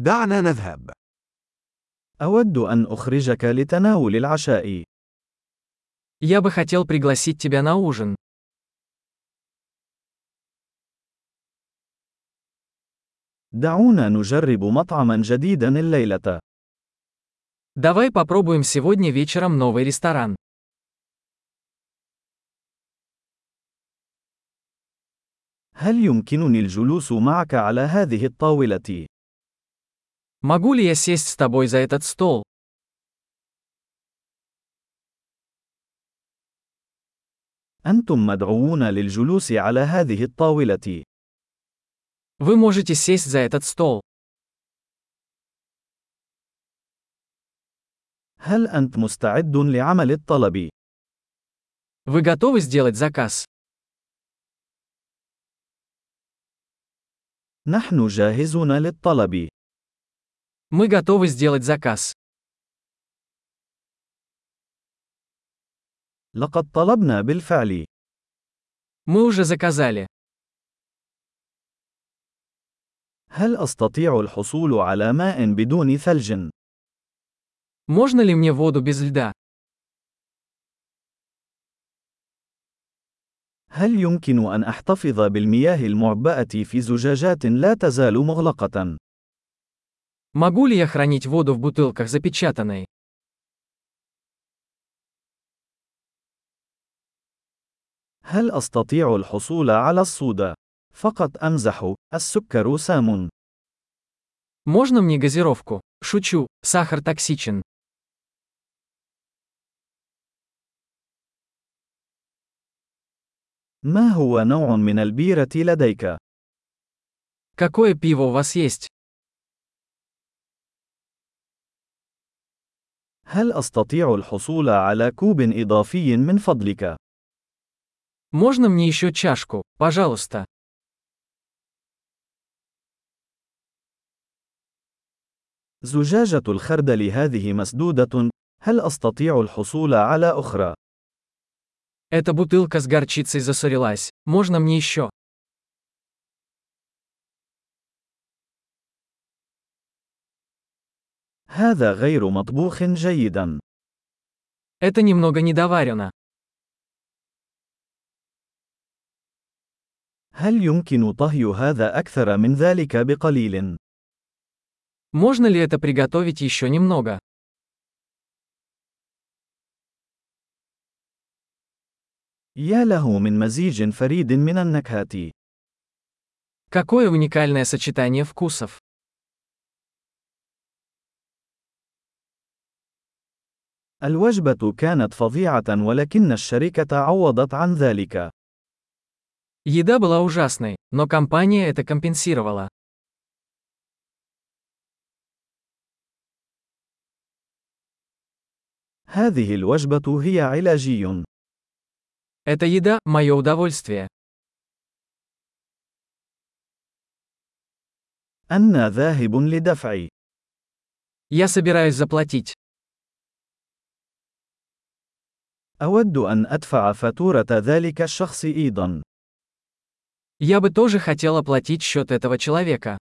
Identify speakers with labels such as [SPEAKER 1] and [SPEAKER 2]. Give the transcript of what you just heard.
[SPEAKER 1] دعنا نذهب.
[SPEAKER 2] أود أن أخرجك لتناول العشاء.
[SPEAKER 3] Я бы хотел пригласить тебя на ужин.
[SPEAKER 2] دعونا نجرب مطعما جديدا الليلة.
[SPEAKER 3] Давай попробуем сегодня вечером новый ресторан.
[SPEAKER 2] هل يمكنني الجلوس معك على هذه الطاولة؟
[SPEAKER 3] Могу ли я сесть с тобой за этот стол?
[SPEAKER 2] أنتم مدعوون للجلوس على هذه الطاولة.
[SPEAKER 3] Вы можете сесть за этот стол.
[SPEAKER 2] هل أنت مستعد لعمل الطلب؟
[SPEAKER 3] Вы готовы сделать заказ?
[SPEAKER 2] نحن جاهزون للطلب.
[SPEAKER 3] Мы готовы сделать заказ.
[SPEAKER 2] لقد طلبنا بالفعل.
[SPEAKER 3] Мы уже заказали.
[SPEAKER 2] هل أستطيع الحصول على ماء بدون ثلج؟
[SPEAKER 3] Можно ли мне воду без льда?
[SPEAKER 2] هل يمكن أن أحتفظ بالمياه المعبأة في زجاجات لا تزال مغلقة؟
[SPEAKER 3] Могу ли я хранить воду в бутылках запечатанной?
[SPEAKER 2] هل أستطيع الحصول على الصودا؟ فقط أمزح، السكر سام.
[SPEAKER 3] Можно мне газировку? Шучу, сахар токсичен.
[SPEAKER 2] ما هو نوع من البيرة لديك؟
[SPEAKER 3] Какое пиво у вас есть?
[SPEAKER 2] هل أستطيع الحصول على كوب إضافي من فضلك؟
[SPEAKER 3] Можно мне еще чашку, пожалуйста?
[SPEAKER 2] زجاجة الخردل هذه مسدودة، هل أستطيع الحصول على أخرى؟
[SPEAKER 3] Эта бутылка с горчицей засорилась. Можно мне еще?
[SPEAKER 2] هذا غير مطبوخ جيدا.
[SPEAKER 3] Это немного недоварено.
[SPEAKER 2] هل يمكن طهي هذا أكثر من ذلك بقليل؟
[SPEAKER 3] Можно ли это приготовить еще немного?
[SPEAKER 2] يا له من مزيج فريد من النكهات.
[SPEAKER 3] Какое уникальное сочетание вкусов.
[SPEAKER 2] الوجبة كانت فظيعة ولكن الشركة عوضت عن ذلك.
[SPEAKER 3] Еда была ужасной, но компания это компенсировала.
[SPEAKER 2] هذه الوجبة هي علاجي.
[SPEAKER 3] Эта еда – мое удовольствие.
[SPEAKER 2] أنا ذاهب لدفع.
[SPEAKER 3] Я собираюсь заплатить.
[SPEAKER 2] أود أن أدفع فاتورة ذلك الشخص أيضا.
[SPEAKER 3] Я бы тоже хотел оплатить счет этого человека.